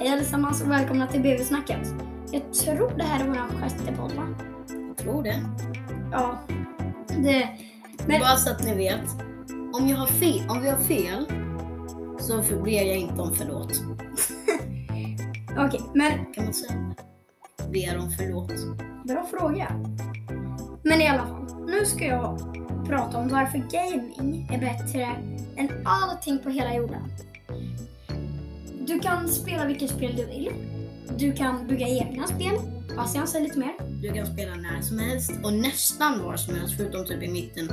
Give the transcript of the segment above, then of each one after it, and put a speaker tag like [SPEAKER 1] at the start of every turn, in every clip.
[SPEAKER 1] allesammans och välkomna till BB-snacket. Jag tror det här är vår sjätte podd va?
[SPEAKER 2] Jag tror det.
[SPEAKER 1] Ja. Det, Men-
[SPEAKER 2] Bara så att ni vet. Om, jag har fel, om vi har fel så för- ber jag inte om förlåt.
[SPEAKER 1] okej, men
[SPEAKER 2] Kan man säga det? Ber om förlåt.
[SPEAKER 1] bra fråga. Men i alla fall, nu ska jag prata om varför gaming är bättre än allting på hela jorden. Du kan spela vilket spel du vill. Du kan bygga egna spel. Bastian, säg lite mer.
[SPEAKER 2] Du kan spela när som helst och nästan var som helst förutom typ i mitten.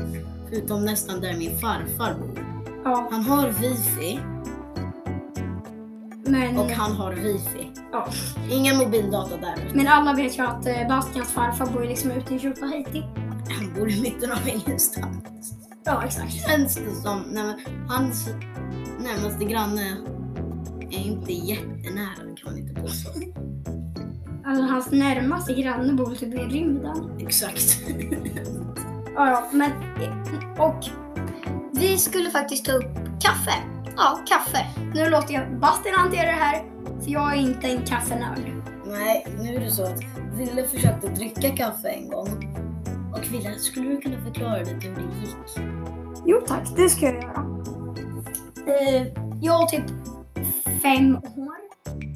[SPEAKER 2] Förutom nästan där min farfar bor.
[SPEAKER 1] Ja,
[SPEAKER 2] Han har wifi
[SPEAKER 1] men...
[SPEAKER 2] och han har wifi.
[SPEAKER 1] Mm. Ja.
[SPEAKER 2] Ingen mobildata där.
[SPEAKER 1] Men alla vet ju att eh, Bastians farfar bor ju liksom ute i Djupa Haiti.
[SPEAKER 2] Han bor i mitten av ingenstans.
[SPEAKER 1] Ja, exakt.
[SPEAKER 2] känns det som. Nej, men, hans närmaste granne är inte jättenära, det kan man inte påstå.
[SPEAKER 1] Alltså hans närmaste granne bor typ i rymden.
[SPEAKER 2] Exakt.
[SPEAKER 1] Ja, ja, men... eh, Och vi skulle faktiskt ta upp kaffe. Ja, kaffe. Nu låter jag Bastian hantera det här, för jag är inte en kaffenörd.
[SPEAKER 2] Nej, nu är det så att Ville försökte dricka kaffe en gång. Och Ville, skulle du kunna förklara lite hur det gick?
[SPEAKER 1] Jo tack, det ska jag göra. Eh, jag har typ fem år.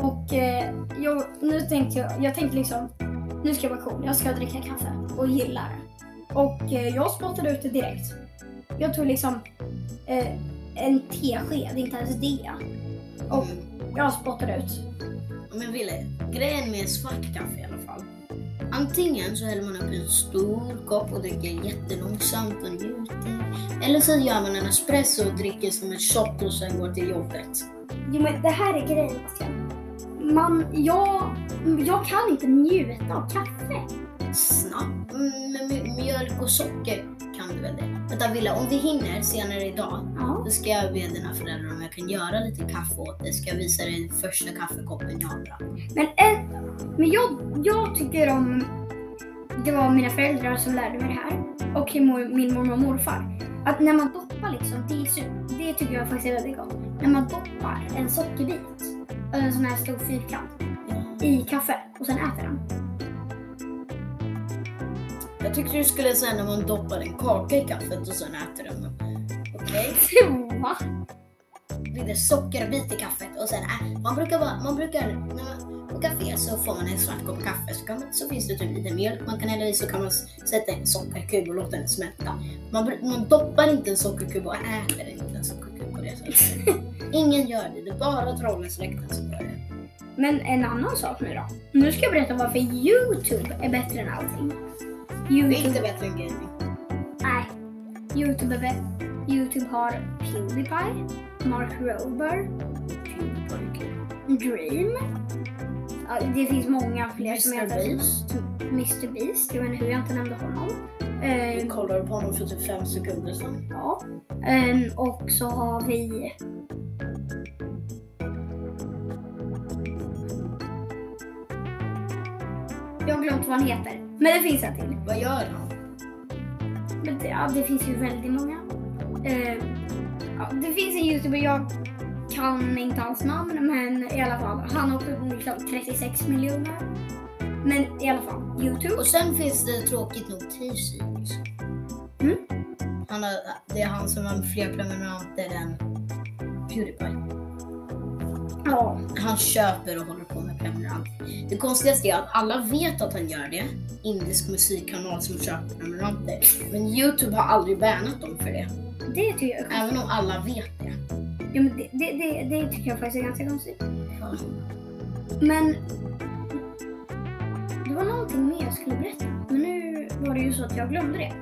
[SPEAKER 1] Och eh, jag, nu tänkte jag, jag tänkte liksom, nu ska jag vara cool. Jag ska dricka kaffe och gilla det. Och eh, jag spottade ut det direkt. Jag tog liksom eh, en tesked, inte ens det. Och jag spottade ut.
[SPEAKER 2] Men Ville, grejen med svart kaffe i alla fall. Antingen så häller man upp en stor kopp och dricker jättelångsamt och njuter. Eller så gör man en espresso och dricker som en shot och sen går till jobbet.
[SPEAKER 1] Jo men det här är grejen Bastian. Man, jag, jag kan inte njuta av kaffe.
[SPEAKER 2] snabbt. Mm, men mj- mjölk och socker kan du väl det? Vänta Villa, om vi hinner senare idag
[SPEAKER 1] Ja.
[SPEAKER 2] så ska jag be dina föräldrar om jag kan göra lite kaffe åt dig. Ska jag visa dig första kaffekoppen jag har. bra.
[SPEAKER 1] Men, en, men jag, jag tycker om... Det var mina föräldrar som lärde mig det här. Och mo- min mormor och morfar. Att när man doppar liksom, det, är su- det tycker jag faktiskt är väldigt gott. När man doppar en sockerbit, eller en sån här stor fyrkant, i kaffe och sen äter den.
[SPEAKER 2] Jag tyckte du skulle säga när man doppar en kaka i kaffet och sen äter den. Okej?
[SPEAKER 1] Va?
[SPEAKER 2] Lite sockerbit i kaffet och sen ä- Man brukar vara, man brukar, när man på café så får man en svart kopp kaffe så, kan man, så finns det typ lite mjölk man kan hälla i så kan man s- sätta en sockerkub och låta den smälta. Man, br- man doppar inte en sockerkub och äter inte en sockerkub på det sättet. Ingen gör det, det är bara trollensläkten som gör det.
[SPEAKER 1] Men en annan sak nu då. Nu ska jag berätta varför Youtube är bättre än allting.
[SPEAKER 2] Det
[SPEAKER 1] Youtube
[SPEAKER 2] är inte bättre än gaming.
[SPEAKER 1] Nej. Youtube, är bä- Youtube har Pewdiepie, Mark Rober, Dream. Ja, det finns många fler som
[SPEAKER 2] Mr.
[SPEAKER 1] heter
[SPEAKER 2] Beast.
[SPEAKER 1] Mr Beast. Jag vet inte hur jag inte nämnde honom.
[SPEAKER 2] Vi
[SPEAKER 1] Ehm,
[SPEAKER 2] kollade på honom för typ fem sekunder sedan.
[SPEAKER 1] ja. Ehm, och så har vi... Jag har glömt vad han heter. Men det finns en till.
[SPEAKER 2] Vad gör han?
[SPEAKER 1] Men det, ja, det finns ju väldigt många. Eh, ja, det finns en youtuber, jag kan inte hans namn, men i alla fall. Han har typ liksom 36 miljoner. Men i alla fall, Youtube.
[SPEAKER 2] Och sen finns det tråkigt nog T-Series.
[SPEAKER 1] Mm.
[SPEAKER 2] Han har, det är han som har fler prenumeranter än Pewdiepie.
[SPEAKER 1] Ja,
[SPEAKER 2] Han köper och håller på med prenumeranter. Det konstigaste är att alla vet att han gör det. Indisk musikkanal som köper prenumeranter. Men Youtube har aldrig bannat dem för det.
[SPEAKER 1] det tycker jag är konstigt.
[SPEAKER 2] Även om alla vet det.
[SPEAKER 1] Ja, men det, det, det, det tycker jag faktiskt är ganska konstigt.
[SPEAKER 2] Ja.
[SPEAKER 1] Men det var någonting mer jag skulle berätta. Men nu var det ju så att jag glömde det.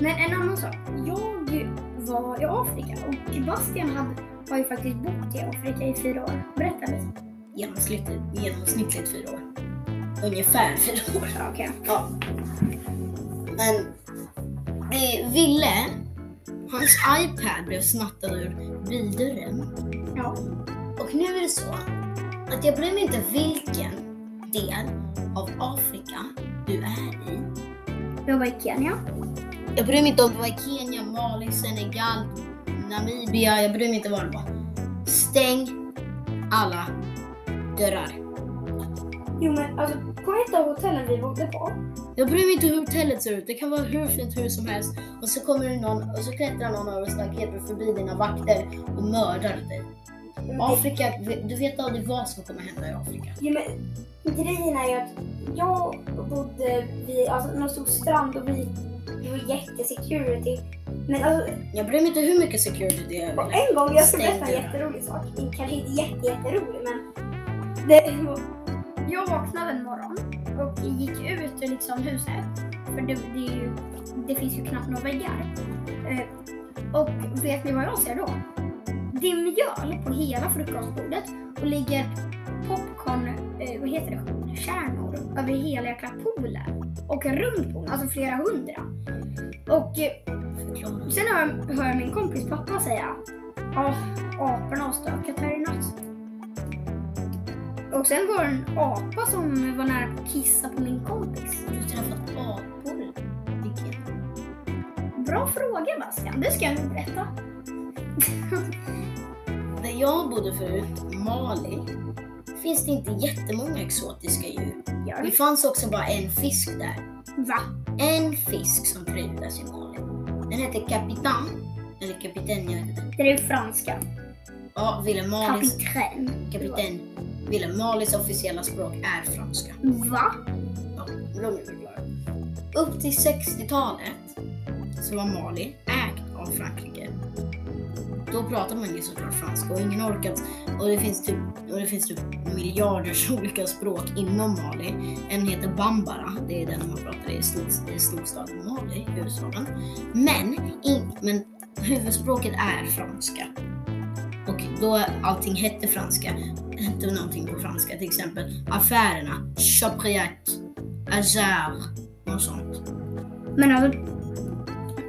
[SPEAKER 1] Men en annan sak. Jag var i Afrika och Bastian hade, har ju faktiskt bott i Afrika i fyra år. Berätta lite.
[SPEAKER 2] Genomsnittligt, genomsnittligt fyra år. Ungefär fyra år.
[SPEAKER 1] Ja, Okej.
[SPEAKER 2] Ja. Men eh, Ville, hans iPad blev snattad ur bildörren.
[SPEAKER 1] Ja.
[SPEAKER 2] Och nu är det så att jag bryr mig inte vilken del av Afrika du är i.
[SPEAKER 1] Jag var i Kenya.
[SPEAKER 2] Jag bryr mig inte om det var i Kenya, Mali, Senegal, Namibia. Jag bryr mig inte var det var. Stäng alla dörrar.
[SPEAKER 1] Jo men alltså på ett av hotellen vi bodde på.
[SPEAKER 2] Jag bryr mig inte hur hotellet ser ut. Det kan vara hur fint hus som helst. Och så kommer det någon och så klättrar någon över staketet förbi dina vakter och mördar dig. Afrika, du vet aldrig vad som kommer hända i Afrika.
[SPEAKER 1] Jo, men, grejen är ju att jag bodde vid alltså, någon stor strand och vi det var jättesecurity. Men alltså,
[SPEAKER 2] Jag bryr mig inte hur mycket security det är.
[SPEAKER 1] Och en gång, jag ska berätta en
[SPEAKER 2] Stängde den.
[SPEAKER 1] jätterolig sak. Kanske inte jätte, jätterolig men. Det, jag vaknade en morgon och gick ut ur liksom huset. För det, det, är ju, det finns ju knappt några väggar. Eh, Och vet ni vad jag ser då? Det är mjöl på hela frukostbordet och ligger popcorn, eh, vad heter det, kärnor över hela jäkla poolen. Och runt poolen, alltså flera hundra. Och eh, Sen hör jag, hör jag min kompis pappa säga Ja, aporna har stökat här i natt. Och sen var det en apa som var nära på att kissa på min kompis.
[SPEAKER 2] Har du träffat apor? Vilket?
[SPEAKER 1] Bra fråga Bastian, det ska jag nog berätta.
[SPEAKER 2] Där jag bodde förut, Mali, finns det inte jättemånga exotiska djur.
[SPEAKER 1] Gör
[SPEAKER 2] Det
[SPEAKER 1] det.
[SPEAKER 2] fanns också bara en fisk där.
[SPEAKER 1] Va?
[SPEAKER 2] en fisk som trivdes i Mali. Den heter Kapitan. Eller kapiten, jag vet inte.
[SPEAKER 1] Det är ju franska.
[SPEAKER 2] Ja, Ville Malis,
[SPEAKER 1] Kapitän.
[SPEAKER 2] kapiten, Ville Malis officiella språk är franska.
[SPEAKER 1] Va?
[SPEAKER 2] Ja, de är väl glada. Upp till 60-talet så var Mali ägt av Frankrike. Då pratar man ju såklart franska och ingen orkat. Och det finns typ, och det finns typ miljarders olika språk inom Mali. En heter Bambara, det är den man pratar i, stor, i storstaden Mali, huvudstaden. Men, in, men huvudspråket är franska. Och då allting hette franska, hette någonting på franska. Till exempel affärerna, Chapriat, Azar, något sånt.
[SPEAKER 1] Men alltså...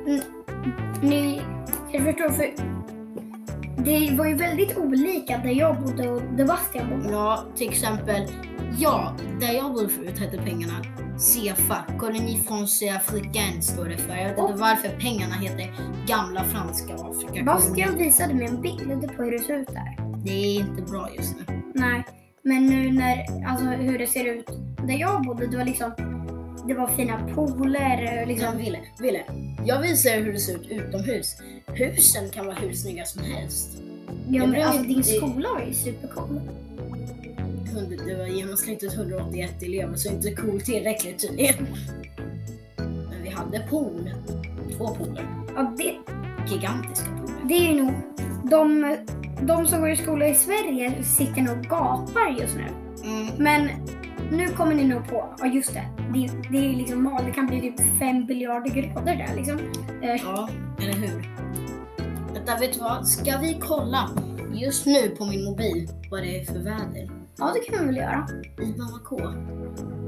[SPEAKER 1] n- Ni jag förstår för... Det var ju väldigt olika där jag bodde och där Bastian bodde.
[SPEAKER 2] Ja, till exempel, ja, där jag bodde förut hette pengarna CFA, Colonie Française Africaine står det för. Jag vet inte
[SPEAKER 1] Och-
[SPEAKER 2] varför pengarna heter Gamla Franska Afrika.
[SPEAKER 1] Bastian visade mig en bild på hur det ser ut där.
[SPEAKER 2] Det är inte bra just nu.
[SPEAKER 1] Nej, men nu när, alltså hur det ser ut där jag bodde, det var liksom, det var fina pooler,
[SPEAKER 2] Liksom,
[SPEAKER 1] liksom.
[SPEAKER 2] Ville, Ville, jag visar er hur det ser ut utomhus. Husen kan vara hur snygga som helst.
[SPEAKER 1] Ja, men,
[SPEAKER 2] blir
[SPEAKER 1] alltså din
[SPEAKER 2] lite-
[SPEAKER 1] skola var ju supercool.
[SPEAKER 2] Hund- Det var genomsnittet 181 elever, så inte cool tillräckligt tydligen. Men vi hade pool. Två pooler.
[SPEAKER 1] Ja, det,
[SPEAKER 2] Gigantiska pooler.
[SPEAKER 1] det är ju nog, de, de som går i skola i Sverige sitter nog och gapar just nu.
[SPEAKER 2] Mm.
[SPEAKER 1] Men nu kommer ni nog på, ja just det, det, det är ju liksom mal, det kan bli typ fem biljarder grader där liksom. Eh,
[SPEAKER 2] Ja, eller hur? Vänta, vet du vad? Ska vi kolla just nu på min mobil vad det är för väder?
[SPEAKER 1] ja, det kan man väl göra.
[SPEAKER 2] I Bamako.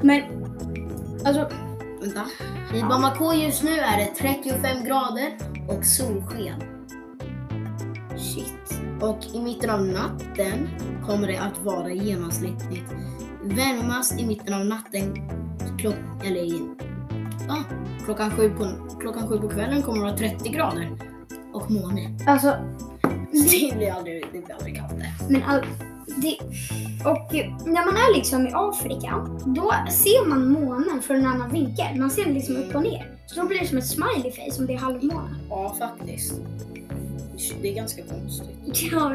[SPEAKER 1] Men, alltså,
[SPEAKER 2] Vänta. I Bamako just nu är det 35 grader och solsken.
[SPEAKER 1] shit.
[SPEAKER 2] Och i mitten av natten kommer det att vara genomsnittligt varmast i mitten av natten klock, eller i, ja, klockan, sju på, klockan sju på kvällen kommer det att vara 30 grader och molnigt.
[SPEAKER 1] Alltså,
[SPEAKER 2] Det blir aldrig, det blir aldrig kallt där.
[SPEAKER 1] Men all, det, och när man är liksom i Afrika, då ser man månen från en annan vinkel. Man ser den liksom upp och ner. Så då blir det som ett smiley face om det är halvmåne.
[SPEAKER 2] Ja, faktiskt. Det är ganska konstigt.
[SPEAKER 1] Ja,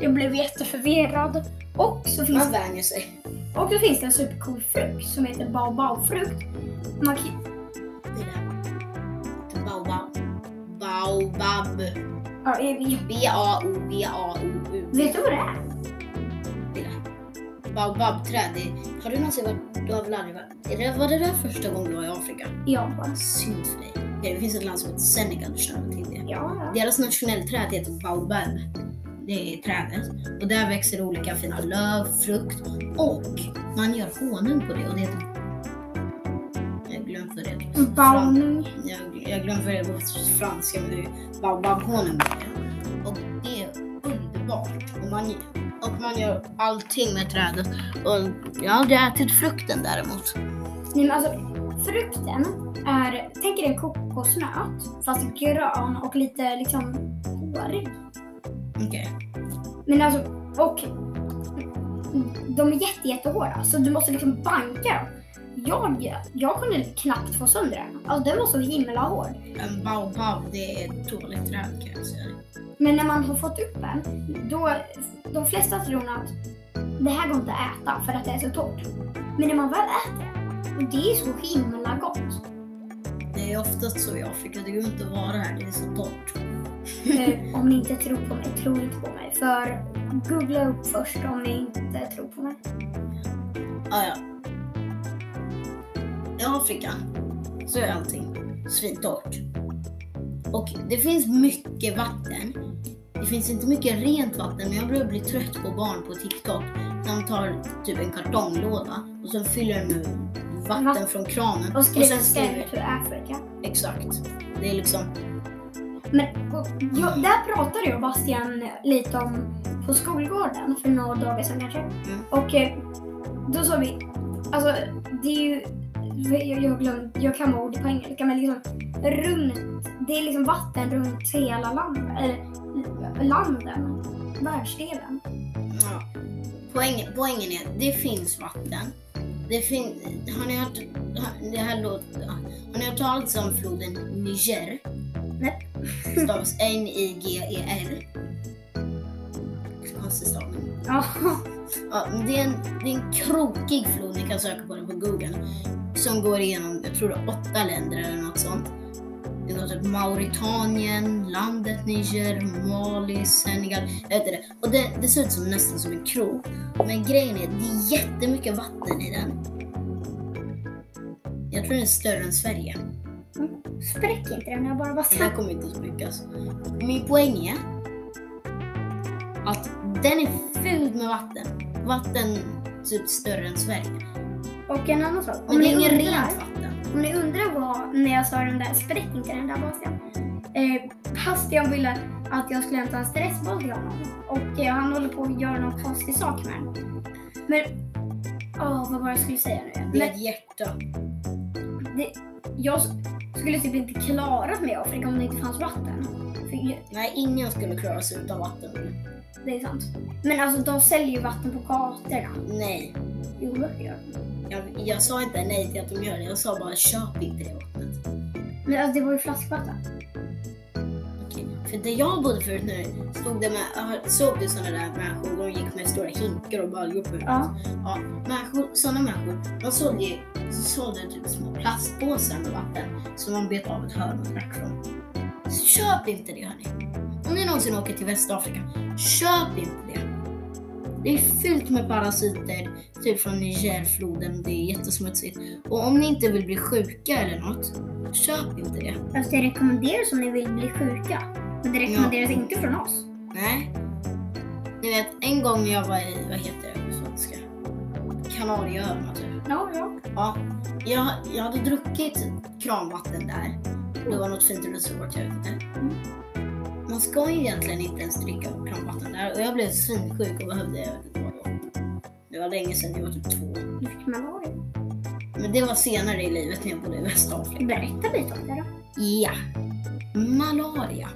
[SPEAKER 1] Jag blev jätteförvirrad. Och så finns,
[SPEAKER 2] Man vänjer sig.
[SPEAKER 1] och så finns det en supercool frukt som heter baobaofrukt. Man kan,
[SPEAKER 2] Det där. Baobab. Baobab.
[SPEAKER 1] ja, jag vet-
[SPEAKER 2] B-A-O-B-A-O-U.
[SPEAKER 1] vet du vad det är?
[SPEAKER 2] Baobabträd. det- Har du någonsin varit... Du har väl aldrig varit... Är det, var det där första gången du var i Afrika?
[SPEAKER 1] Ja, bara.
[SPEAKER 2] Synd för dig. Ja, Det finns ett land som heter Senegal, du känner till det.
[SPEAKER 1] Ja, ja.
[SPEAKER 2] Deras nationellträd heter baobab. Det är trädet. Och där växer olika fina löv, frukt och man gör honung på det och det heter... Jag har glömt vad det heter.
[SPEAKER 1] Baonung.
[SPEAKER 2] Jag, jag glömde vad det är på franska, men det är baobabhonung. Och det är underbart. Och man, och man gör allting med trädet. Och jag har aldrig ätit frukten däremot.
[SPEAKER 1] Nej, men alltså, frukten är, tänk er en kokosnöt, fast grön och lite liksom hårig.
[SPEAKER 2] Okej.
[SPEAKER 1] Men alltså, och de är jätte, jättehårda så du måste liksom banka dem. Jag, jag kunde knappt få sönder den. Alltså den var så himla hård.
[SPEAKER 2] En baobab, det är dåligt träd kan jag säga.
[SPEAKER 1] Men när man har fått upp den, då, de flesta tror nog att det här går inte att äta för att det är så torrt. Men när man väl äter det, och det är så himla gott.
[SPEAKER 2] Det är oftast så jag fick, det går inte att vara här, det är så torrt.
[SPEAKER 1] Eh, om ni inte tror på mig, tro inte på mig. För googla upp först om ni inte tror på mig.
[SPEAKER 2] Ah, ja. I Afrika så är allting svintort. Och det finns mycket vatten. Det finns inte mycket rent vatten men jag börjar bli trött på barn på TikTok. De tar typ en kartonglåda och så fyller de med vatten
[SPEAKER 1] Vatten.
[SPEAKER 2] från kranen.
[SPEAKER 1] Och
[SPEAKER 2] sen
[SPEAKER 1] skriv
[SPEAKER 2] skriver
[SPEAKER 1] ut ur Afrika.
[SPEAKER 2] Exakt. Det är liksom,
[SPEAKER 1] Men och, jag, där pratade jag och Bastian lite om på skolgården för några dagar sedan kanske.
[SPEAKER 2] Mm.
[SPEAKER 1] Och eh, då sa vi, alltså det är ju, jag, jag, glöm, jag kan vara ordet på engelska men liksom runt, det är liksom vatten runt hela landet, eller landen, världsdelen.
[SPEAKER 2] ja. Poängen, poängen är, det finns vatten. Det finns, har ni hört, har, det här låter, har ni hört talas om floden Niger?
[SPEAKER 1] Nej.
[SPEAKER 2] Stavas N-I-G-E-R. E Konstig stavning.
[SPEAKER 1] Ja,
[SPEAKER 2] Ja, men det, är en, det är en krokig flod, ni kan söka på den på google. Som går igenom, jag tror det är åtta länder eller något sånt. Det går typ Mauritanien, landet Niger, Mali, Senegal. Jag vet inte. Och det, det ser ut som nästan som en krok. Men grejen är, det är jättemycket vatten i den. Jag tror den är större än Sverige.
[SPEAKER 1] spräck inte den, jag bara
[SPEAKER 2] Det här
[SPEAKER 1] Bastian.
[SPEAKER 2] kommer inte att sprickas. Min poäng är att den är fylld med vatten. Vatten typ större än Sverige.
[SPEAKER 1] Och en annan sak,
[SPEAKER 2] Men det är inget
[SPEAKER 1] undrar-
[SPEAKER 2] rent vatten.
[SPEAKER 1] Om ni undrar vad, när jag sa den där, spräck inte den där Bastian. Eh, Bastian ville att jag skulle hämta en stressboll till honom. Och eh, han håller på att göra någon konstig sak med den. Men, åh vad var det jag skulle säga nu igen?
[SPEAKER 2] Det är
[SPEAKER 1] Men
[SPEAKER 2] ett hjärta.
[SPEAKER 1] det, jag s- skulle typ inte klara mig i Afrika om det inte fanns vatten. För jag-
[SPEAKER 2] Nej, ingen skulle klara sig utan vatten.
[SPEAKER 1] det är sant. Men alltså de säljer ju vatten på gatorna.
[SPEAKER 2] Nej.
[SPEAKER 1] Jo, det gör de.
[SPEAKER 2] Jag, jag sa inte nej till att de gör det. Jag sa bara köp inte det vattnet.
[SPEAKER 1] Men alltså det var ju flaskvatten.
[SPEAKER 2] Okej. För där jag bodde förut nu stod det med, jag såg du sådana där människor? De gick med stora hinkar och baljor på huvudet.
[SPEAKER 1] Ja.
[SPEAKER 2] Ja, människor, sådana människor, de sålde ju så sålde de typ små plastpåsar med vatten som man bet av ett hörn och drack från. Så köp inte det hörni. Om ni någonsin åker till Västafrika, köp inte det. Det är fyllt med parasiter, typ från Nigerfloden, det är jättesmutsigt. Och om ni inte vill bli sjuka eller något, köp inte det.
[SPEAKER 1] Alltså det rekommenderas om ni vill bli sjuka. Men det rekommenderas inte från oss.
[SPEAKER 2] Nej. Ni vet, en gång när jag var i, vad heter det på svenska? Kanarieöarna typ.
[SPEAKER 1] Ja, ja.
[SPEAKER 2] Ja, jag, jag hade druckit kranvatten där. Det var något fint resort, jag vet inte.
[SPEAKER 1] Mm.
[SPEAKER 2] Man ska ju egentligen inte ens dricka kranvatten där och jag blev svinsjuk och behövde, jag vet inte vad det var. Det var länge sedan, det var typ två.
[SPEAKER 1] Nu fick man vara det.
[SPEAKER 2] Men det var senare i livet när jag bodde i Västafrika.
[SPEAKER 1] Berätta lite om det då.
[SPEAKER 2] Ja. Malaria.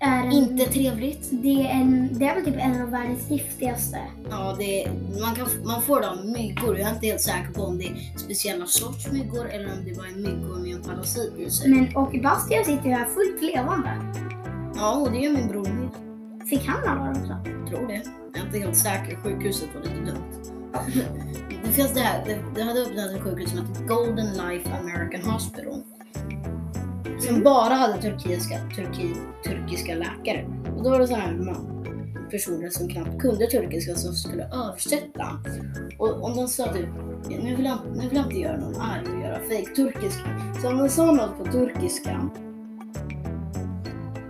[SPEAKER 1] Är en,
[SPEAKER 2] Inte trevligt.
[SPEAKER 1] Det, är en, det är väl typ en av världens giftigaste.
[SPEAKER 2] Ja, det, man, kan, man får det av myggor. Jag är inte helt säker på om det är speciella sorts myggor eller om det bara är myggor med en parasit i sig.
[SPEAKER 1] Men, och Bastian sitter ju här fullt levande.
[SPEAKER 2] Ja, och det gör min bror med.
[SPEAKER 1] Fick han alla också?
[SPEAKER 2] tror det. Jag är inte helt säker. Sjukhuset var lite dumt. Det finns det här. Det, det hade öppnat ett sjukhus som hette Golden Life American Hospital. Som bara hade turkiska, turki, turkiska läkare. Och då var det så här ma- personer som knappt kunde turkiska som skulle översätta. Och om de sa typ, nu vill jag, nu vill jag inte göra någon arg och göra fake turkiska. Så om de sa något på turkiska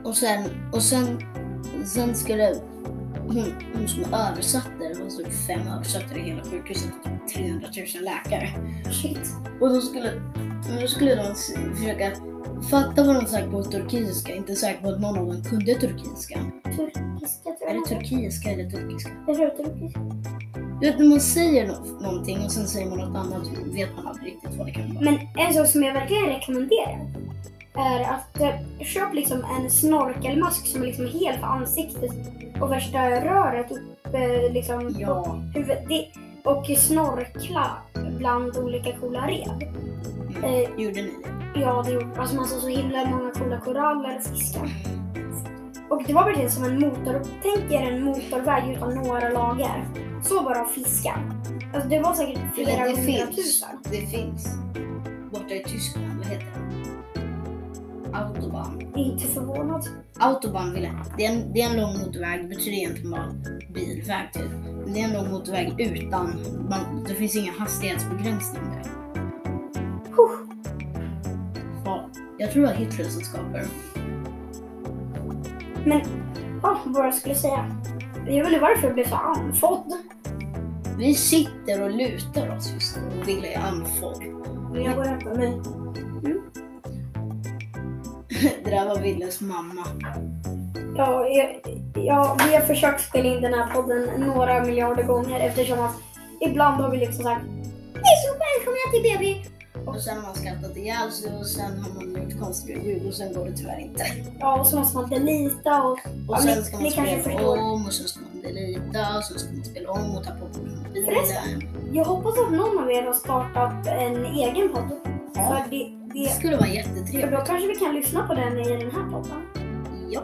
[SPEAKER 2] och sen, och sen, sen skulle hon, hon som översatte, det var typ fem översättare i hela sjukhuset och typ 300 000 läkare.
[SPEAKER 1] Shit.
[SPEAKER 2] Och då skulle, men då skulle de s- försöka fatta vad de sagt på turkiska, inte säkert på att någon av dem kunde turkiska.
[SPEAKER 1] Turkiska tror
[SPEAKER 2] Är
[SPEAKER 1] jag.
[SPEAKER 2] det turkiska eller turkiska?
[SPEAKER 1] Jag tror turkiska.
[SPEAKER 2] Du vet när man säger nå- någonting och sen säger man något annat vet man aldrig riktigt vad det kan vara.
[SPEAKER 1] Men en sak som jag verkligen rekommenderar är att eh, köp liksom en snorkelmask som är liksom helt för ansiktet och värsta röret upp eh, liksom på
[SPEAKER 2] Ja.
[SPEAKER 1] huvudet. Det- Och snorkla bland olika coola rev.
[SPEAKER 2] Mm.
[SPEAKER 1] Eh,
[SPEAKER 2] Gjorde ni det?
[SPEAKER 1] ja, det gjorde alltså man såg så himla många coola koraller och fiskar. Och det var verkligen som en motor. Tänk er en motorväg utan några lager. Så bara av fiskar. Alltså det var säkert flera
[SPEAKER 2] det finns.
[SPEAKER 1] hundratusen.
[SPEAKER 2] Det finns. Borta i Tyskland, vad heter det? Autobahn.
[SPEAKER 1] Inte förvånad.
[SPEAKER 2] Autobahn vill jag. Det är en, det är en lång motorväg, det betyder egentligen bara bilväg typ. Men det är en lång motorväg utan, man, det finns inga hastighetsbegränsningar.
[SPEAKER 1] Huh.
[SPEAKER 2] Ja, jag tror det var Hitler som skapade dem.
[SPEAKER 1] Men ja, vad jag skulle säga. Jag vet inte varför jag blev så andfådd.
[SPEAKER 2] Vi sitter och lutar oss just nu och vill i andfådd.
[SPEAKER 1] Men jag går och hämtar mig.
[SPEAKER 2] Det där var Willes mamma.
[SPEAKER 1] Ja, jag, ja, vi har försökt spela in den här podden några miljarder gånger eftersom att ibland har vi liksom sagt Hej så välkomna till BB!
[SPEAKER 2] Och sen har man skrattat ihjäl sig och sen har man gjort konstiga ljud och sen går det tyvärr inte.
[SPEAKER 1] Ja, och så måste man delita och
[SPEAKER 2] Och
[SPEAKER 1] Ja,
[SPEAKER 2] sen
[SPEAKER 1] ni-
[SPEAKER 2] ska man
[SPEAKER 1] ni kanske
[SPEAKER 2] spela
[SPEAKER 1] förstår.
[SPEAKER 2] om och sen ska man delita och sen ska man spela om och ta på mobilen.
[SPEAKER 1] jag hoppas att någon av er har startat en egen podd.
[SPEAKER 2] Ja.
[SPEAKER 1] För, det,
[SPEAKER 2] Det
[SPEAKER 1] det,
[SPEAKER 2] skulle vara
[SPEAKER 1] för
[SPEAKER 2] jättetrevligt.
[SPEAKER 1] då kanske vi kan lyssna på den i den här podden.
[SPEAKER 2] Ja.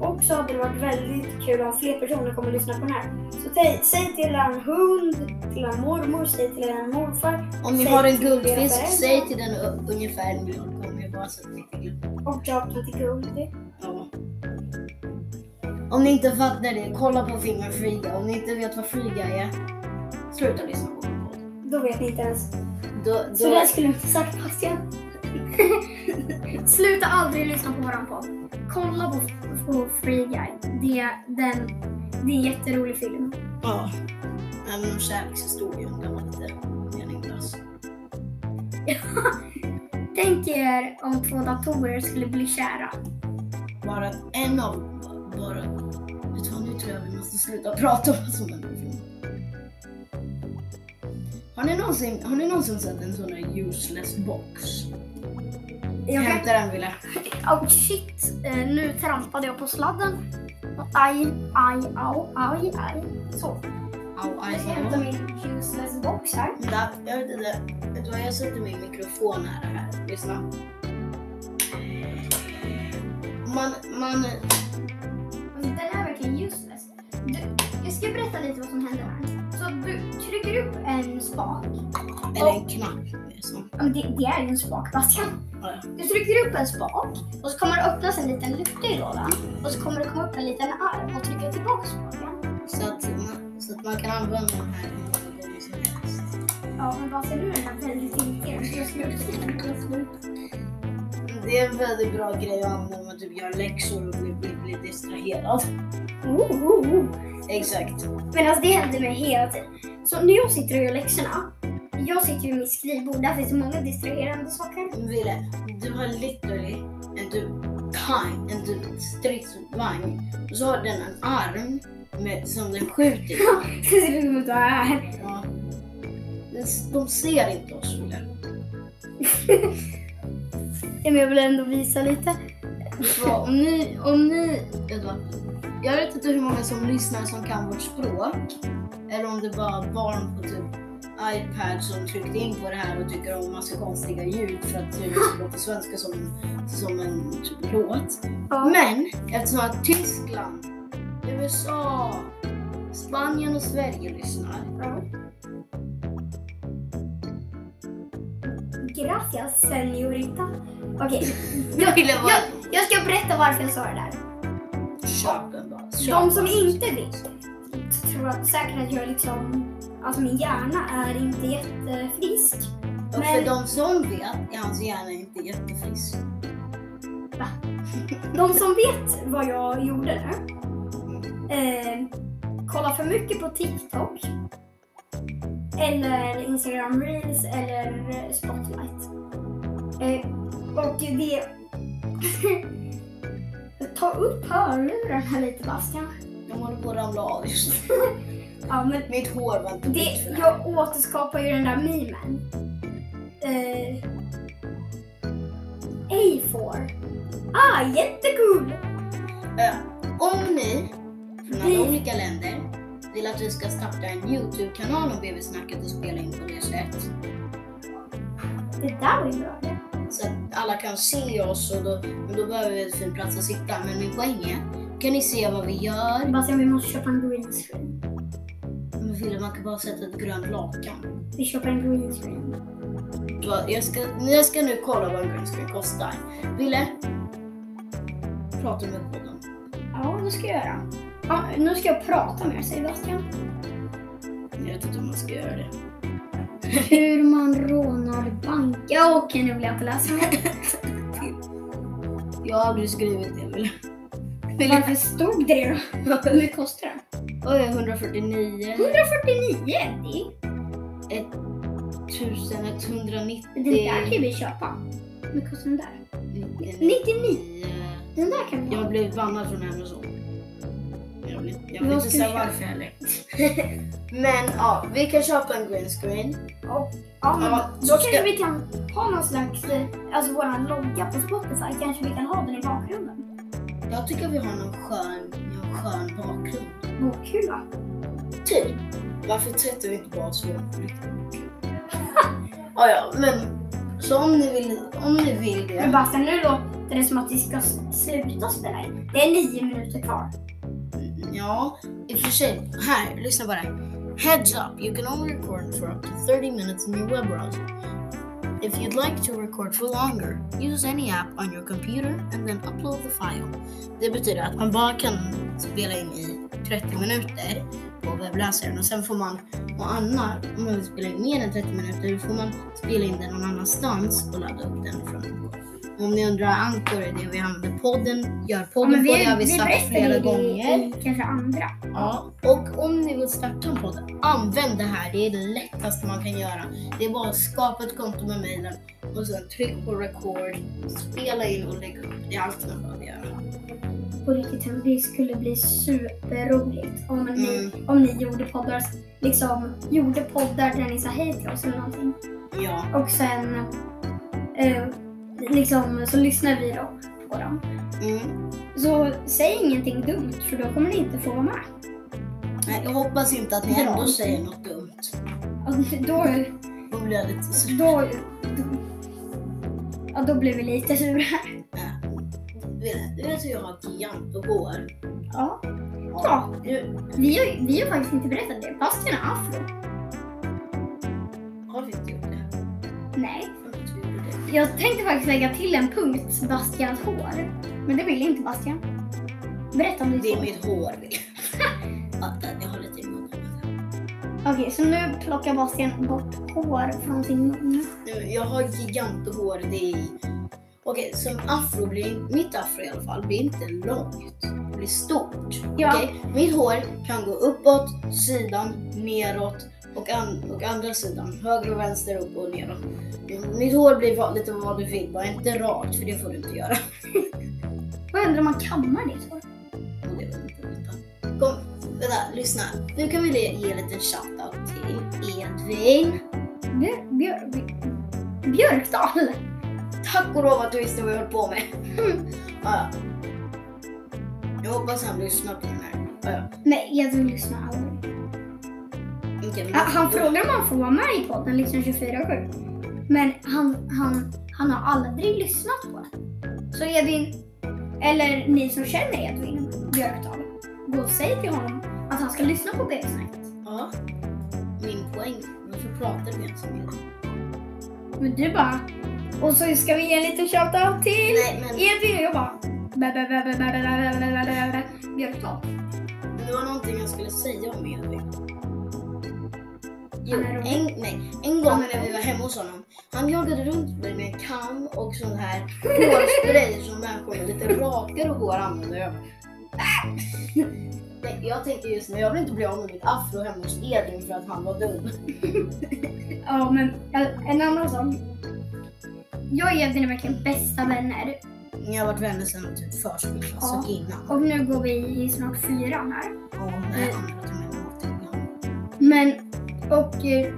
[SPEAKER 1] Och så hade det varit väldigt kul om fler personer kommer att lyssna på den här. Så säg, säg till en hund, till en mormor, säg till en morfar
[SPEAKER 2] Om ni
[SPEAKER 1] Säg
[SPEAKER 2] har en
[SPEAKER 1] till era
[SPEAKER 2] guldfisk,
[SPEAKER 1] föräldrar.
[SPEAKER 2] säg till den u- ungefär en miljard gånger bara så att ni inte glömmer.
[SPEAKER 1] och döp den till Goldie.
[SPEAKER 2] Ja. Om ni inte fattar det, kolla på filmen Free Guy. Om ni inte vet vad Free Guy är, sluta lyssna på vår podd.
[SPEAKER 1] Då vet ni inte ens.
[SPEAKER 2] Då,
[SPEAKER 1] Så det
[SPEAKER 2] då,
[SPEAKER 1] här skulle jag inte sagt fast jag... Sluta aldrig lyssna på våran podd. Kolla på, på Free Guy. Det, den, det är en jätterolig film.
[SPEAKER 2] ja. Även om kärlekshistorien, den var lite meningslös.
[SPEAKER 1] Tänk er om två datorer skulle bli kära.
[SPEAKER 2] Bara att en av bara... Vet du vad, nu tror jag vi måste sluta prata om vad som händer i filmen. Har ni någonsin, har ni någonsin sett en sån där useless box?
[SPEAKER 1] Jag kan...
[SPEAKER 2] Hämta den Wille.
[SPEAKER 1] Oh shit, eh, nu trampade jag på sladden. Aj, aj, au, aj, aj. Så,
[SPEAKER 2] Au, aj,
[SPEAKER 1] jag ska hämta min useless box här.
[SPEAKER 2] Vänta, jag vet inte. Vet du vad, jag sätter min mikrofon nära här. Lyssna. Man, man...
[SPEAKER 1] Alltså, Den är verkligen useless. Du, jag ska berätta lite vad som händer här. Så du trycker upp en spak.
[SPEAKER 2] Eller en knapp. Liksom.
[SPEAKER 1] Ja, men det, det är ju en spak, Bastian.
[SPEAKER 2] Ja, ja.
[SPEAKER 1] Du trycker upp en spak och så kommer det öppnas en liten lucka i lådan. Och så kommer det komma upp en liten arm och trycka tillbaka spaken.
[SPEAKER 2] Så att, man, så att man kan använda den här hur många gånger som helst.
[SPEAKER 1] Ja, men Bastian nu är den här väldigt irriterande. Jag ska uppskriva den just nu.
[SPEAKER 2] Det är en väldigt bra grej att använda när man typ gör läxor och blir, blir, blir distraherad.
[SPEAKER 1] Oh, oh, oh.
[SPEAKER 2] Exakt.
[SPEAKER 1] Men alltså det händer mig hela tiden. Så när jag sitter och gör läxorna. Jag sitter ju vid mitt skrivbord, där finns det många distraherande saker.
[SPEAKER 2] Ville, du har literally en typ tank, en typ stridsvagn. Och så har den en arm med, som den skjuter i.
[SPEAKER 1] Det ser ut som att jag är här.
[SPEAKER 2] Ja. Den- De ser inte oss Ville.
[SPEAKER 1] Men jag vill ändå visa lite.
[SPEAKER 2] Så Om ni, om ni, vet du vad? Jag vet inte hur många som lyssnar som kan vårt språk. Eller om det bara barn på typ iPad som tryckte in på det här och tycker om massa konstiga ljud för att det låter svenska som, som en typ låt.
[SPEAKER 1] Ja.
[SPEAKER 2] Men eftersom att Tyskland, USA, Spanien och Sverige lyssnar.
[SPEAKER 1] Gracias, senorita. Okej,
[SPEAKER 2] Jag ville
[SPEAKER 1] jag, jag ska berätta varför jag sa det där.
[SPEAKER 2] Köp en bara. Köp
[SPEAKER 1] De som
[SPEAKER 2] en.
[SPEAKER 1] inte vet tror att säkert att jag liksom... Alltså min hjärna är inte jättefrisk.
[SPEAKER 2] Och
[SPEAKER 1] men-
[SPEAKER 2] för de som vet är hans hjärna inte jättefrisk.
[SPEAKER 1] De som vet vad jag gjorde nu. Eh, kolla för mycket på TikTok. Eller Instagram Reels eller eh, Spotlight. Eh, och det... Ta upp hörluren här lite Bastian.
[SPEAKER 2] De håller på att ramla av just nu.
[SPEAKER 1] Ja, men
[SPEAKER 2] Mitt hår var inte byggt för
[SPEAKER 1] det,
[SPEAKER 2] det här.
[SPEAKER 1] jag återskapar ju den där memen. Eh, ej får. Ah, jättekul!
[SPEAKER 2] Eh, Om ni från
[SPEAKER 1] Vi-
[SPEAKER 2] alla olika länder vill att vi ska starta en Youtube-kanal om BB-snacket och spela in på det sättet
[SPEAKER 1] Det där var ju bra. det.
[SPEAKER 2] så att alla kan se oss och då, men då behöver vi en fin plats att sitta. Men min poäng är, kan ni se vad vi gör?
[SPEAKER 1] Sebastian, vi måste köpa en green screen.
[SPEAKER 2] Men Fille, man kan bara sätta ett grönt lakan.
[SPEAKER 1] Vi köper en green screen.
[SPEAKER 2] Så Jag ska, jag ska nu kolla vad en grön screen kostar. Ville, prata med podden.
[SPEAKER 1] Ja, det ska jag göra. Ja, nu ska jag prata med dig, Sebastian.
[SPEAKER 2] Jag vet inte om man ska göra det.
[SPEAKER 1] Hur man rånar bank. Ja, okej, nu vill jag inte läsa mer.
[SPEAKER 2] Jag har aldrig skrivit det, Ville. Ville,
[SPEAKER 1] Varför stod det då? Hur mycket kostar den?
[SPEAKER 2] oj, 149.
[SPEAKER 1] 149!
[SPEAKER 2] 1190.
[SPEAKER 1] Det, den där kan vi köpa. Hur mycket kostar den där?
[SPEAKER 2] 99.
[SPEAKER 1] Den där kan vi ha.
[SPEAKER 2] Jag blev bannad från Amazon. Jag blev- jag
[SPEAKER 1] Vad
[SPEAKER 2] vet inte
[SPEAKER 1] ska vi
[SPEAKER 2] säga
[SPEAKER 1] köpa?
[SPEAKER 2] varför heller. Men ja, vi kan köpa en green screen.
[SPEAKER 1] Ja, men
[SPEAKER 2] Ja,
[SPEAKER 1] då
[SPEAKER 2] så ska-
[SPEAKER 1] kanske vi kan ha någon slags, eh, alltså våran logga på Spotify, kanske vi kan ha den i bakgrunden.
[SPEAKER 2] Jag tycker vi har någon skön, någon skön bakgrund.
[SPEAKER 1] Bokkula.
[SPEAKER 2] Typ. Varför tvättar vi inte bara oss för ja, ja, men så om ni vill, om ni vill
[SPEAKER 1] Men
[SPEAKER 2] det.
[SPEAKER 1] Bastian, nu låter det som att vi ska s- sluta spela in. Det är nio minuter kvar.
[SPEAKER 2] Ja, i och för sig. Här, lyssna bara. Heads up, you can only record for up to 30 minutes in your web browser. If you'd like to record for longer, use any app on your computer and then upload the file. Det betyder att man bara kan spela in i 30 minuter på webbläsaren och sen får man och Anna, om man vill spela in mer än 30 minuter, då får man spela in den någon annanstans och ladda upp den från Anchor. Om ni undrar, Anchor är det vi använder podden, gör podden på, det har vi sagt flera gånger.
[SPEAKER 1] i kanske andra.
[SPEAKER 2] Ja, och om ni vill starta en podd, använd det här. Det är det lättaste man kan göra. Det är bara att skapa ett konto med mejlen och sen tryck på record, spela in och lägg upp. Det är allt man behöver göra.
[SPEAKER 1] På riktigt, det skulle bli superroligt om ni,
[SPEAKER 2] Mm.
[SPEAKER 1] om ni gjorde poddar, liksom gjorde poddar där ni sa hej till oss eller någonting.
[SPEAKER 2] Ja,
[SPEAKER 1] Och sen eh, liksom, så lyssnar vi då på dem.
[SPEAKER 2] mm.
[SPEAKER 1] Så säg ingenting dumt för då kommer ni inte få vara med.
[SPEAKER 2] Nej, jag hoppas inte att ni
[SPEAKER 1] Bra.
[SPEAKER 2] ändå säger något dumt.
[SPEAKER 1] Och då,
[SPEAKER 2] Då blir jag lite sur.
[SPEAKER 1] då, då, ja, då blir vi lite sura.
[SPEAKER 2] Äh. Du vet hur jag har gigantgård?
[SPEAKER 1] Ja. Ja, vi har, vi har faktiskt inte berättat det. Bastian har afro.
[SPEAKER 2] Har vi inte gjort det?
[SPEAKER 1] Nej.
[SPEAKER 2] Jag vet inte hur vi gjorde det?
[SPEAKER 1] Jag tänkte faktiskt lägga till en punkt, Bastians hår. Men det vill inte Bastian. Berätta om ditt
[SPEAKER 2] Det är
[SPEAKER 1] hår.
[SPEAKER 2] mitt hår. Vill jag. Vänta, jag har lite i munnen.
[SPEAKER 1] Okej, så nu plockar Bastian bort hår från sin mun.
[SPEAKER 2] Nu, Jag har giganthår. Det är... Okej, som afro blir mitt afro i alla fall blir inte långt. Det blir stort.
[SPEAKER 1] Ja.
[SPEAKER 2] Okej, mitt hår kan gå uppåt, sidan, neråt och, an- och andra sidan. Höger och vänster, upp och neråt. Mitt hår blir va- lite vad du vill, bara inte rakt för det får du inte göra.
[SPEAKER 1] Vad händer om man kammar ditt hår?
[SPEAKER 2] Och det var inte vänta. Kom, vänta, lyssna. Nu kan vi ge ge en liten shoutout till Edvin.
[SPEAKER 1] Björ, björ, Björkdal!
[SPEAKER 2] Tack och lov att du visste vad jag höll på med. ja. Jag hoppas han lyssnar på den här. Ja, ja.
[SPEAKER 1] Nej, Edvin lyssnar aldrig.
[SPEAKER 2] Okej, men-
[SPEAKER 1] Han, han frågar om han får vara med i podden liksom 24-7. Men han, han, han har aldrig lyssnat på den. Så Edvin, eller ni som känner Edvin Björkdal, gå och säg till honom att han ska lyssna på BB-snacket.
[SPEAKER 2] Ja. Min poäng. Varför pratar vi ens om det?
[SPEAKER 1] Men du bara... Och så ska vi ge en liten shoutout till
[SPEAKER 2] Nej, men
[SPEAKER 1] Edvin och jag bara... "Bä, bä, bä, bä, bä, bä, bä, bä, bä, bä, bä, bä." Björkdal.
[SPEAKER 2] det var någonting jag skulle säga om Edvin. Jo,
[SPEAKER 1] Han är rolig.
[SPEAKER 2] en, nej, en gång när vi var hemma hos honom. Han jagade runt mig med en kam och sån här hårspray som människor med lite rakare hår använder. Jag bara, Nej, Jag tänker just nu, jag vill inte bli av med mitt afro hemma hos Edvin för att han var dum.
[SPEAKER 1] Ja, men eh, en annan sak. Jag och Edvin är verkligen bästa vänner.
[SPEAKER 2] Ni har varit vänner sedan typ förskoleklass
[SPEAKER 1] Ja.
[SPEAKER 2] och innan.
[SPEAKER 1] Och nu går vi i snart fyran här.
[SPEAKER 2] Mm. Och när andra till mig var till
[SPEAKER 1] Men, och eh,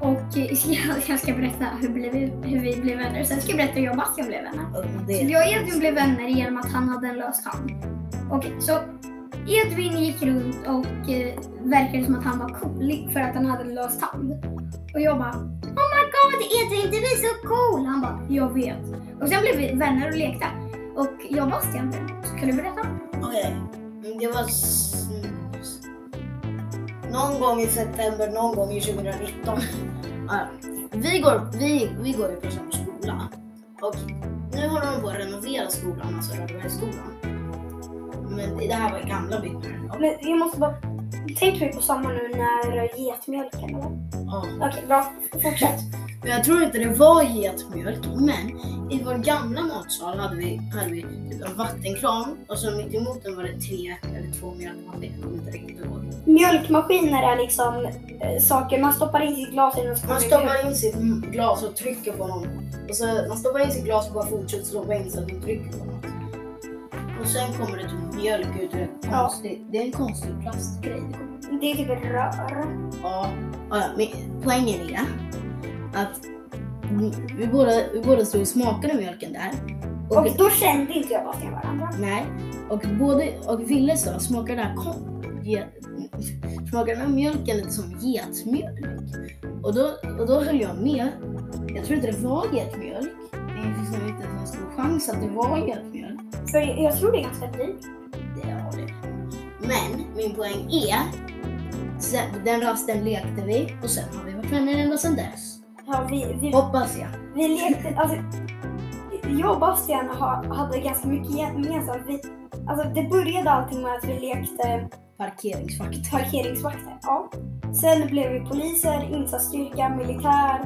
[SPEAKER 1] Och eh, jag- jag ska berätta hur, blev, vi- hur vi blev vänner. Sen ska jag berätta hur jag och Bastian blev vänner.
[SPEAKER 2] Ja, men
[SPEAKER 1] Så
[SPEAKER 2] det-
[SPEAKER 1] jag och Edvin blev vänner genom att han hade en lös hand. Okej, så Edvin gick runt och eh, verkade som att han var cool för att han hade en lös hand. Och jag bara Oh my god Edvin, du är så cool! Han bara Jag vet. Och sen blev vi vänner och lekte. Och jag och Bastian blev Kan du berätta?
[SPEAKER 2] Okej. Mm, Det var... s- s- Någon gång i september, någon gång i 2019. Ja, vi går, vi, vi går ju på samma skola. Och nu håller de på att renovera skolan, alltså Rödbergsskolan. Men det här var ju gamla byggnaden. Och-
[SPEAKER 3] Men jag måste bara... Tänker vi på samma nu när getmjölken eller?
[SPEAKER 2] ja.
[SPEAKER 3] Okej, bra. Fortsätt.
[SPEAKER 2] Men jag tror inte det var getmjölk, men i vår gamla matsal hade vi, hade vi typ en vattenkran och så mitt emot den var det tre eller två mjölkmaskiner, jag kommer inte riktigt ihåg.
[SPEAKER 3] Mjölkmaskiner är liksom eh, saker man stoppar in sitt glas i och så
[SPEAKER 2] Man stoppar in sitt mm, glas och trycker på någon. Och så, man stoppar in sitt glas och bara fortsätter stoppa in så att man trycker på något. Och sen kommer det typ mjölk ut ur ett
[SPEAKER 3] Ja.
[SPEAKER 2] konstigt, det är en konstig plastgrej. det kommer.
[SPEAKER 3] Det är typ ett rör.
[SPEAKER 2] Ja, ja, men poängen är att vi båda, vi båda stod och smakade mjölken där. Och
[SPEAKER 3] Och
[SPEAKER 2] vi-
[SPEAKER 3] då kände inte jag Bastian varandra.
[SPEAKER 2] Nej, och både och Ville sa smakar den här kon- ge- smakar den här mjölken lite som getmjölk? Och då, och då höll jag med. Jag tror inte det var getmjölk. Det finns nog inte ens en stor chans att det var getmjölk.
[SPEAKER 3] För jag tror det är ganska likt.
[SPEAKER 2] Det har det. Men min poäng är, sen, den rasten lekte vi och sen har vi varit vänner ända sedan dess.
[SPEAKER 3] Ja, vi, vi,
[SPEAKER 2] Hoppas jag.
[SPEAKER 3] vi lekte... Alltså, jag och Bastian ha, hade ganska mycket gemensamt. Vi, alltså, det började allting med att vi lekte
[SPEAKER 2] Parkeringsvakt.
[SPEAKER 3] parkeringsvakter. Ja. Sen blev vi poliser, insatsstyrka, militär.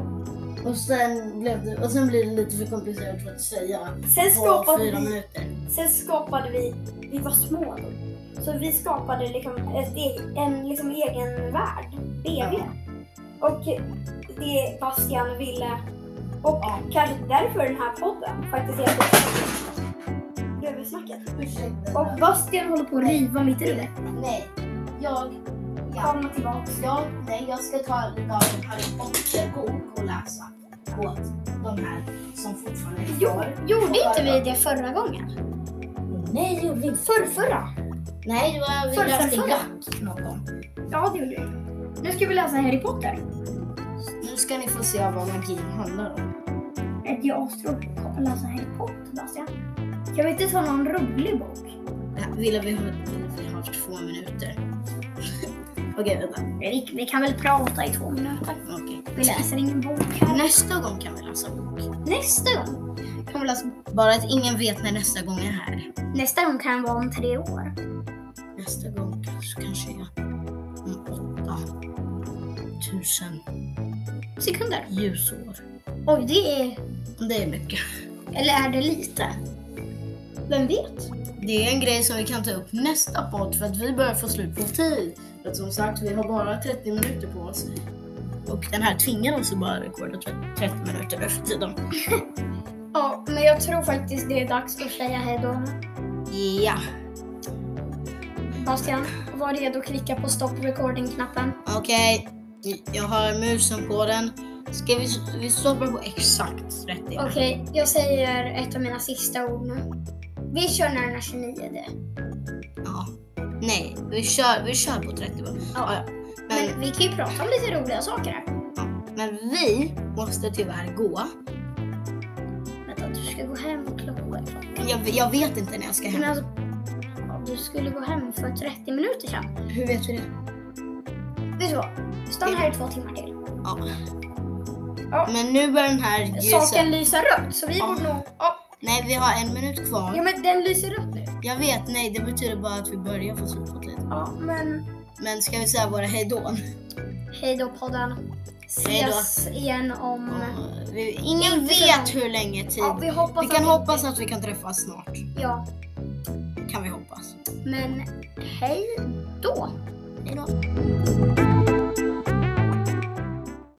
[SPEAKER 2] Och sen, blev det, och sen blir det lite för komplicerat för att säga
[SPEAKER 3] Sen
[SPEAKER 2] på
[SPEAKER 3] skapade
[SPEAKER 2] fyra
[SPEAKER 3] vi
[SPEAKER 2] minuter.
[SPEAKER 3] Sen skapade vi, vi var små då. Så vi skapade liksom ett eg- en liksom egen värld, BV.
[SPEAKER 2] Ja.
[SPEAKER 3] Och det Bastian ville, och
[SPEAKER 2] Ja.
[SPEAKER 3] kanske därför den här podden faktiskt heter Rövsnacket.
[SPEAKER 2] Ursäkta.
[SPEAKER 3] Och
[SPEAKER 1] Bastian håller på att riva mitt rör.
[SPEAKER 2] Nej. Jag... Ja.
[SPEAKER 3] kom tillbaka.
[SPEAKER 2] Jag, nej, jag ska ta lite av en Harry Potter-bok och läsa åt de här som fortfarande är kvar.
[SPEAKER 1] Gjorde inte vi det förra gången?
[SPEAKER 2] Nej, gjorde vi inte.
[SPEAKER 1] Förrförra?
[SPEAKER 2] Nej, det var, vi
[SPEAKER 1] Förra,
[SPEAKER 2] läste
[SPEAKER 1] förra.
[SPEAKER 2] Jack någon gång.
[SPEAKER 1] Ja, det gjorde vi. Nu ska vi läsa Harry Potter.
[SPEAKER 2] Nu ska ni få se vad magin handlar om.
[SPEAKER 1] Ett jag astråkigt att läsa Harry Potter, Bastian. Kan vi inte ta någon rolig bok?
[SPEAKER 2] Ja, Ville vi ha, ville vi ha två minuter? Okej, vänta.
[SPEAKER 1] Vi, vi kan väl prata i två minuter.
[SPEAKER 2] Okej.
[SPEAKER 1] Vi läser ingen bok här.
[SPEAKER 2] Nästa gång kan vi läsa bok.
[SPEAKER 1] Nästa gång kan vi läsa
[SPEAKER 2] Bara att ingen vet när nästa gång är här.
[SPEAKER 1] Nästa gång kan vara om tre år.
[SPEAKER 2] Nästa gång kanske, kanske jag om åtta tusen
[SPEAKER 1] Sekunder.
[SPEAKER 2] ljusår.
[SPEAKER 1] Oj, det är...
[SPEAKER 2] Det är mycket.
[SPEAKER 1] Eller är det lite? Vem vet?
[SPEAKER 2] Det är en grej som vi kan ta upp nästa podd för att vi börjar få slut på tid. För att som sagt, vi har bara 30 minuter på oss. Och den här tvingar oss att bara rekorda tre- 30 minuter efter tiden.
[SPEAKER 1] Ja, men jag tror faktiskt det är dags att säga hej då.
[SPEAKER 2] Ja,
[SPEAKER 1] Bastian, var redo att klicka på stopp recording-knappen.
[SPEAKER 2] okej. Jag har musen på den. Ska vi, vi stoppar på exakt 30?
[SPEAKER 1] Okej, jag säger ett av mina sista ord nu. Vi kör närmare 29 det.
[SPEAKER 2] Ja. Nej, vi kör, vi kör på 30 bara. Ja, ja. Men-
[SPEAKER 1] Men vi kan ju prata om lite roliga saker här.
[SPEAKER 2] Men vi måste tyvärr gå.
[SPEAKER 1] Vänta, du ska gå hem och klockan.
[SPEAKER 2] Jag, jag vet inte när jag ska
[SPEAKER 1] Men
[SPEAKER 2] hem.
[SPEAKER 1] alltså, ja, du skulle gå hem för 30 minuter sedan.
[SPEAKER 2] Hur vet du det?
[SPEAKER 1] Vet du vad? Stanna här i två timmar till.
[SPEAKER 2] Ja.
[SPEAKER 1] Ja.
[SPEAKER 2] Men nu börjar den här ljusa...
[SPEAKER 1] Saken lyser rött, så vi
[SPEAKER 2] Ja.
[SPEAKER 1] borde nog... Ja,
[SPEAKER 2] Nej, vi har en minut
[SPEAKER 1] ja,
[SPEAKER 2] kvar.
[SPEAKER 1] men den lyser rött nu.
[SPEAKER 2] Jag vet, nej, det betyder bara att vi börjar få slut på tid.
[SPEAKER 1] Ja, men
[SPEAKER 2] Men ska vi säga våra hejdån?
[SPEAKER 1] hej då podden.
[SPEAKER 2] Hej då.
[SPEAKER 1] Ses igen om...
[SPEAKER 2] Ja, vi- Ingen
[SPEAKER 1] Inte så
[SPEAKER 2] vet
[SPEAKER 1] långt.
[SPEAKER 2] hur länge tid...
[SPEAKER 1] Ja, vi hoppas
[SPEAKER 2] Vi kan
[SPEAKER 1] att...
[SPEAKER 2] hoppas att vi kan träffas snart.
[SPEAKER 1] Ja,
[SPEAKER 2] Kan vi hoppas.
[SPEAKER 1] men hej då.
[SPEAKER 2] Hejdå.